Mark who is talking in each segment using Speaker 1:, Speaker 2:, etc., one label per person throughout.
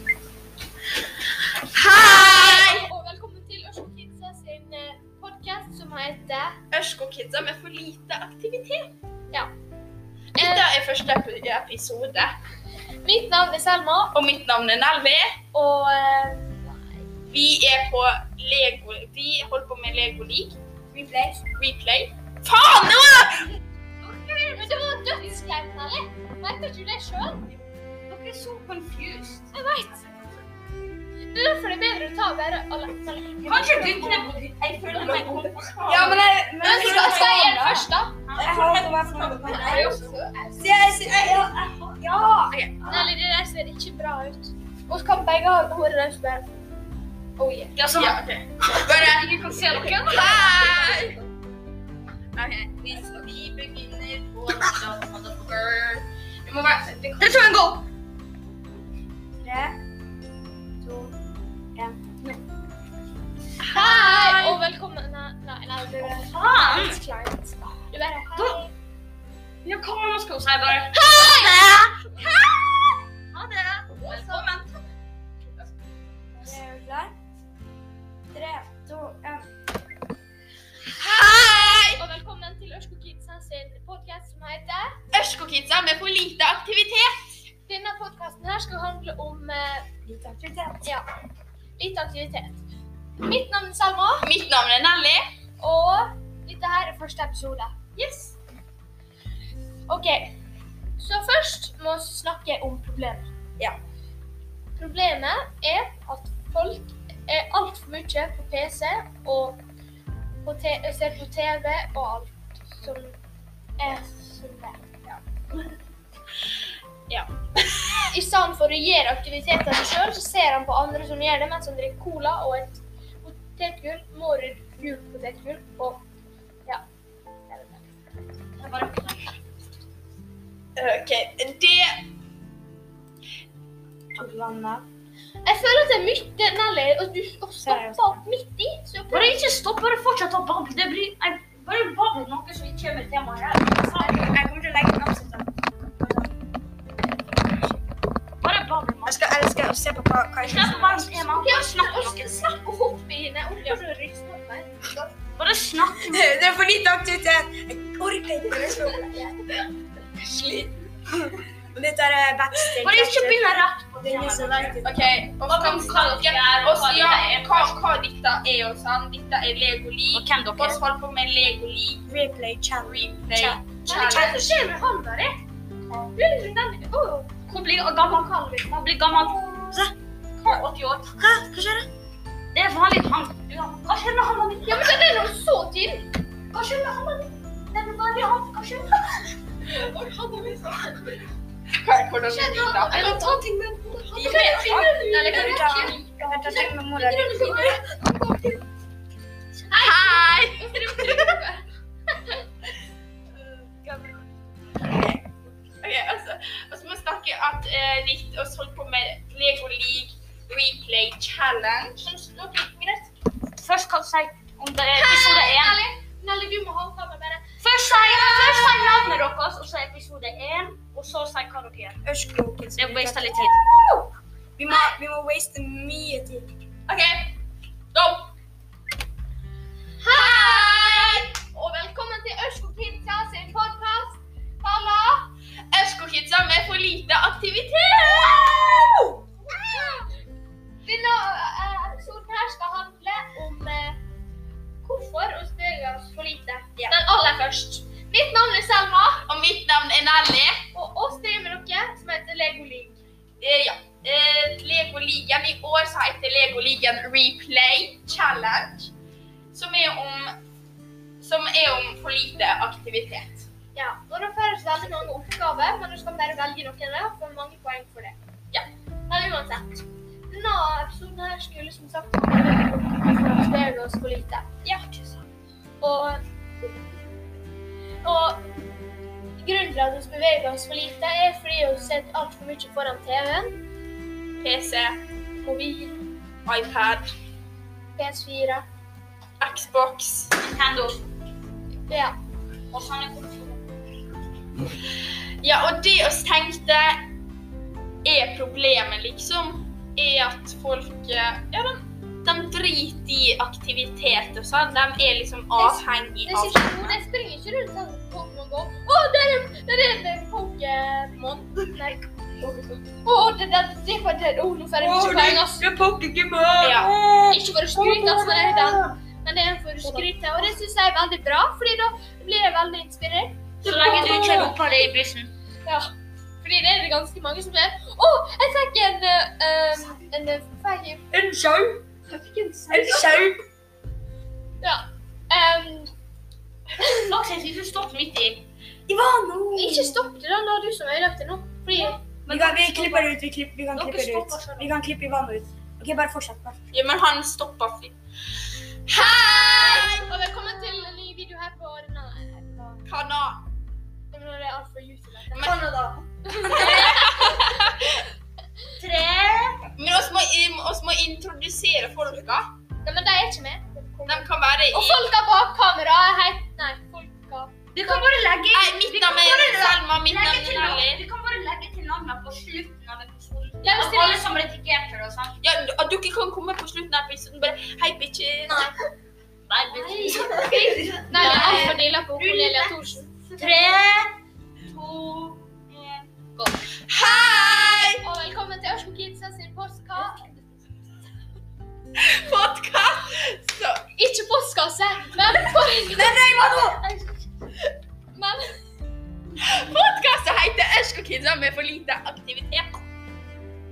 Speaker 1: eh, Eh,
Speaker 2: tredje episode. Mitt navn er Selma. Og mitt navn er Nelvi. Og eh, vi er på Lego... Vi holder på med Lego League. Replay. Replay. Faen, det var
Speaker 1: Men det var dødsglemt, eller? Merka ikke du det sjøl?
Speaker 2: Dere er så confused.
Speaker 1: Jeg veit. Det er derfor det er bedre å ta bare alle alle-
Speaker 2: Kanskje du kunne
Speaker 3: Jeg føler meg komfortabel.
Speaker 2: Ja, men jeg
Speaker 1: Men skal jeg si en først, da?
Speaker 3: Jeg har ikke vært med på
Speaker 2: Jeg er jo
Speaker 3: deg.
Speaker 2: også-
Speaker 3: Jeg- jeg- jeg- jeg- Ja!
Speaker 1: Nelly, det der ser ikke bra ut. Og så kan begge ha håret løst der. Oh yeah.
Speaker 2: Ja, sånn. ok. Bare jeg ikke kan se dere. Hei! Ok, vi, vi begynner på Love Motherfucker. Det må være det kan... 3, 2, 1, go!
Speaker 3: Tre, to,
Speaker 1: Hei, og velkommen Nei, nei, nei det er
Speaker 2: Faen!
Speaker 1: dødsglemt. Du bare
Speaker 2: Da- Ja, hva nå skal hun si? Bare
Speaker 1: Hei!
Speaker 2: ha det! Velkommen.
Speaker 3: er du klar? Tre, to, en.
Speaker 2: Hei!
Speaker 1: Og velkommen til Ørsko Kidsen sin podcast som heter
Speaker 2: Ørskokidsa med for lite aktivitet.
Speaker 1: Denne podkasten her skal handle om eh,
Speaker 3: Litt aktivitet.
Speaker 1: ja, litt aktivitet. Mitt navn er Selma,
Speaker 2: Mitt navn er Nelly.
Speaker 1: og dette her er første episode.
Speaker 2: Yes.
Speaker 1: OK. Så først må vi snakke om problemet.
Speaker 3: Ja.
Speaker 1: Problemet er at folk er altfor mye på PC og på te ser på TV og alt som er som det.
Speaker 2: Ja.
Speaker 1: I stedet for å gjøre aktiviteter sjøl, så ser han på andre som gjør det mens han drikker cola og et potetgull, mårer gult potetgull og ja. jeg vet ikke.
Speaker 2: Jeg bare OK, det
Speaker 3: Har du vannet?
Speaker 1: Jeg føler at det er mye Nelly, og du og stopper opp midt i. Så
Speaker 4: Bare ikke stopp, bare fortsett å bable. Det blir jeg, Bare bable noe som ikke kommer til meg her.
Speaker 3: Jeg kommer til å legge den opp sånn.
Speaker 4: Bare bable.
Speaker 3: Jeg skal, jeg skal se på hva, hva jeg
Speaker 4: Snakk om verdens tema. Bare snakk om noe.
Speaker 1: snakk og hopp i henne. Jeg orker å riste opp meg.
Speaker 4: Bare snakk.
Speaker 3: Det er for lite aktivitet. Jeg orker ikke å slå opp. Sliten. Og Dette er backstage.
Speaker 4: Bare ikke begynne rett på
Speaker 3: Det er ikke så
Speaker 4: temaet.
Speaker 3: langt.
Speaker 2: OK. Og hva kan dere Og så ja, hva, hva dette er og sånn. Dette er Lego League.
Speaker 4: Og hvem
Speaker 2: Og
Speaker 4: dere
Speaker 2: så holder på med Lego League
Speaker 3: Replay challenge.
Speaker 2: Replay
Speaker 3: Chat.
Speaker 1: Hva er
Speaker 2: Challenge.
Speaker 1: det som skjer med hånda di? Du er liksom den Åh,
Speaker 4: Hun eh. blir gammel. Hun blir gammel. Se. Hva er 80 år?
Speaker 3: Hva? Hva skjer da?
Speaker 4: Det er vanlig han. Hva skjer med hånda mi?
Speaker 1: Ja, men den er nå så tynn.
Speaker 4: Hva skjer med hånda mi? Det er vanlig han. Hva skjer med
Speaker 2: Hvordan skjer det? da?
Speaker 1: Eller ta ting med
Speaker 2: Vi
Speaker 1: hånda.
Speaker 2: vet ikke.
Speaker 1: Eller kan du ikke?
Speaker 3: Jeg tar sjekk med mora di.
Speaker 2: Hei! Ok, altså, og så må vi snakke at eh, litt oss holdt på med Lego League Replay Challenge.
Speaker 4: hånda? Først kan du si om det er episode 1.
Speaker 1: Nelly, du må holde på med bare
Speaker 4: Først si, først si navnet deres, og så episode 1. Og så si hva dere gjør.
Speaker 3: Ørskloken.
Speaker 4: Det waster litt tid.
Speaker 3: Vi må, vi må waste mye tid.
Speaker 2: OK, go! Hei! Og velkommen til Ørsko Kidsa sin podkast. Halla! Ørsko Kidsa med for lite aktivitet!
Speaker 1: Denne eh, episoden her skal handle om eh, hvorfor vi beveger oss for lite.
Speaker 3: Ja.
Speaker 1: Men aller først. Mitt navn er Selma,
Speaker 2: Og mitt navn er Nelly.
Speaker 1: og oss driver med noe som heter Lego League.
Speaker 2: Eh, ja. Eh, Lego-ligaen i år så heter Lego-ligaen Replay Challenge. Som er om Som er om for lite aktivitet.
Speaker 1: Ja, og da får du veldig mange oppgaver, men du skal bare velge noen og få mange poeng for det.
Speaker 2: Ja.
Speaker 1: Men uansett. Denne episoden her skulle som sagt handle om hvorfor vi beveger oss for lite. Ja, og, og grunnen til at vi beveger oss for lite, er fordi vi sitter altfor mye foran TV-en,
Speaker 2: PC,
Speaker 1: mobil,
Speaker 2: iPad,
Speaker 1: PS4.
Speaker 2: Xbox
Speaker 4: Nintendo.
Speaker 1: Ja.
Speaker 4: Og sånne konsoler.
Speaker 2: Ja, og det oss tenkte er problemet, liksom, er at folk eh, Ja, de, de driter i aktivitet og sånn. De er liksom avhengig
Speaker 1: Det
Speaker 2: av
Speaker 1: sitter jo, de springer ikke rundt sånn Pokémon Pokémon. Å, der er, der er det en Pokémon. Nei, Pokémon. Å, det der, det var det. Å, nå får jeg mye
Speaker 3: Åh,
Speaker 1: poeng, ass.
Speaker 3: det er Pokémon!
Speaker 2: Ja.
Speaker 3: Åh,
Speaker 1: Ikke for å skryte, ass, men det er den. Men det er for å skryte, og det synes jeg er veldig bra, fordi da blir jeg veldig inspirert.
Speaker 4: Så lenge du ikke roper det i bussen.
Speaker 1: Ja. Fordi det er det ganske mange som er. Å, jeg fikk en, eh, um, en, eh, fikk en,
Speaker 3: En sau!
Speaker 1: jeg fikk en
Speaker 3: En sau!
Speaker 1: Em,
Speaker 4: Nå synes jeg du stopp midt i.
Speaker 3: Ivano!
Speaker 1: ikke stopp det da, nå er du som ødelagte nå. Fordi,
Speaker 3: Vi, kan, vi klipper det ut. Vi, klipp, vi kan
Speaker 4: Dere
Speaker 3: klippe det ut.
Speaker 4: stopper selv.
Speaker 3: Vi kan klippe Ivano ut. Ok, bare fortsett. Bare.
Speaker 2: Ja, men han stoppa fint.
Speaker 1: hei! Og velkommen til en ny video her på denne.
Speaker 2: Kanal.
Speaker 1: Det er alt for YouTube. dette.
Speaker 2: Men-
Speaker 4: Canada. Tre
Speaker 2: Men oss må, oss må introdusere folka.
Speaker 1: Nei, men de er ikke med.
Speaker 2: De kan være i
Speaker 1: Og folka bak kamera er helt Nei, folka
Speaker 4: Du kan bare legge
Speaker 2: Nei, mitt
Speaker 4: du kan
Speaker 2: navn er
Speaker 4: bare la-
Speaker 2: Selma. Mitt
Speaker 4: legge
Speaker 2: navn
Speaker 4: til
Speaker 2: er
Speaker 4: navn-
Speaker 2: Nelly.
Speaker 4: Du kan bare legge til navnet på slutten av episoden.
Speaker 1: Ja, hvis
Speaker 4: Og
Speaker 1: det-
Speaker 4: alle som redigerte det og sånn.
Speaker 2: Ja, d- at dere kan komme på slutten av episoden bare Hei, bitches.
Speaker 1: Nei.
Speaker 2: Nei, bitches.
Speaker 4: Nei.
Speaker 1: Nei, det er alt for dealer på Cornelia Thorsen.
Speaker 4: Tre, to, en.
Speaker 2: Hei!
Speaker 1: Og velkommen til Ørsko Kids sin postkast.
Speaker 2: Podkast! Så
Speaker 1: Ikke postkasse, men for-
Speaker 3: Nei, nei, Ivano!
Speaker 1: Men
Speaker 2: podkastet heter Ørsk og kidsa med for lite aktivitet.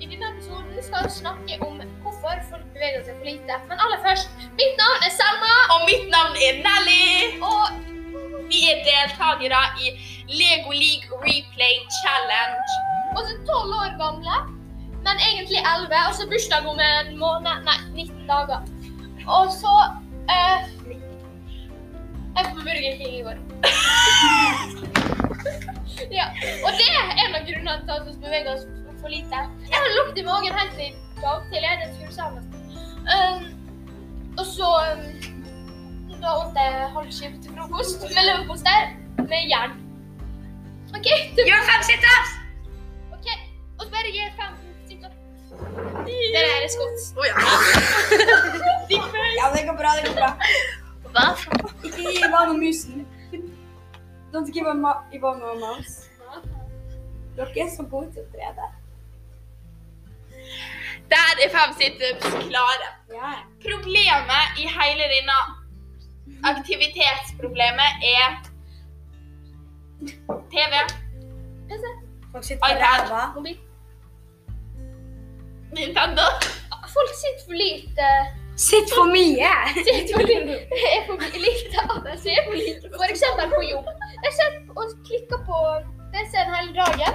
Speaker 1: i denne episoden skal vi snakke om hvorfor folk beveger seg for lite. Men aller først, mitt navn er Selma,
Speaker 2: Og mitt navn er Nelly.
Speaker 1: og
Speaker 2: Vi er deltakere i Lego League Replay Challenge.
Speaker 1: også 12 år gamle. Men egentlig 11, og så bursdag om en måned Nei, 19 dager. Og så eh, Jeg var på Burger King i går. ja, og det er en av grunnene til at vi beveger oss for lite. Jeg har lukt i magen helt til i dag til jeg er skulle sammen. Um, og så um, Da åt jeg halv skive til frokost med leverpostei med jern. OK, det
Speaker 3: Gjør fem situps!
Speaker 1: Ok, og så bare gjør fem situps. Det er det skott.
Speaker 2: Å ja.
Speaker 3: Ja, det går bra. det går bra.
Speaker 4: Hva for
Speaker 3: Ikke gi Ivano musen. Don't give Ma- Ivano a mouse. Dere er så gode til å tre det.
Speaker 2: Der er fem situps klare.
Speaker 3: Ja.
Speaker 2: Problemet i hele denne aktivitetsproblemet er TV.
Speaker 1: PC,
Speaker 3: Folk sitter på
Speaker 2: iPad.
Speaker 3: ræva.
Speaker 1: mobil.
Speaker 2: Nintendo.
Speaker 1: Ah, Folk sitter for lite.
Speaker 3: Sitt for mye!
Speaker 1: Sitter for lite. Er for lite av det sin. For eksempel på jobb. Jeg sitter og klikker på PC-en hele dagen.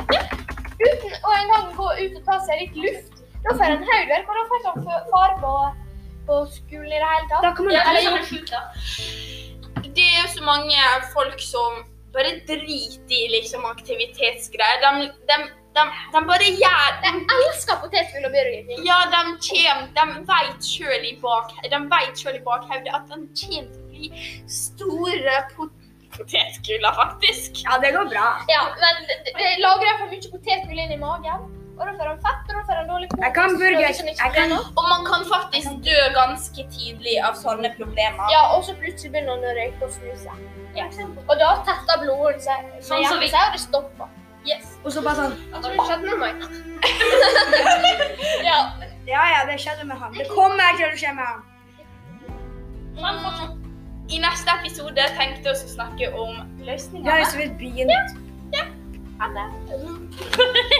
Speaker 1: Uten å engang gå ut og ta seg litt luft. Da får jeg en haugverk, og da får jeg ikke fare på, på skolen i det hele tatt.
Speaker 3: Da kan man
Speaker 4: Ja,
Speaker 3: ja,
Speaker 4: eller
Speaker 3: jo.
Speaker 4: sånn er sjukt, da.
Speaker 2: Det er så mange folk som bare driter i liksom aktivitetsgreier. De, de, de, de bare gjør de,
Speaker 1: Jeg elsker potetgull og Burger King.
Speaker 2: Ja, de kommer De vet sjøl i bak- de vet selv i bakhodet at de kommer til å bli store pot potetguller, faktisk.
Speaker 3: Ja, det går bra.
Speaker 1: Ja, men det, det lager jeg for mye potetgull inn i magen. Og da får han fett, og da får han dårlig kokos.
Speaker 3: Jeg kan burger.
Speaker 1: og det ikke
Speaker 3: Jeg kan
Speaker 1: blir noe.
Speaker 2: Og man kan faktisk dø ganske tidlig av sånne problemer.
Speaker 1: Ja, og så plutselig begynner han å røyke og snuse.
Speaker 4: For eksempel.
Speaker 1: Og da tetter blodåren seg, med
Speaker 4: Sånn som vi-
Speaker 1: hjernen seg, og det stopper. Yes.
Speaker 3: Og så bare sånn
Speaker 1: Jeg tror det skjedde med meg. ja.
Speaker 3: Ja ja, det skjedde med han. Det kommer til å skje med han.
Speaker 4: Sånn, fortsatt.
Speaker 2: Mm. I neste episode tenkte vi å snakke om
Speaker 3: Vi har
Speaker 2: løsninger.
Speaker 3: jo så vidt begynt.
Speaker 2: Ha det.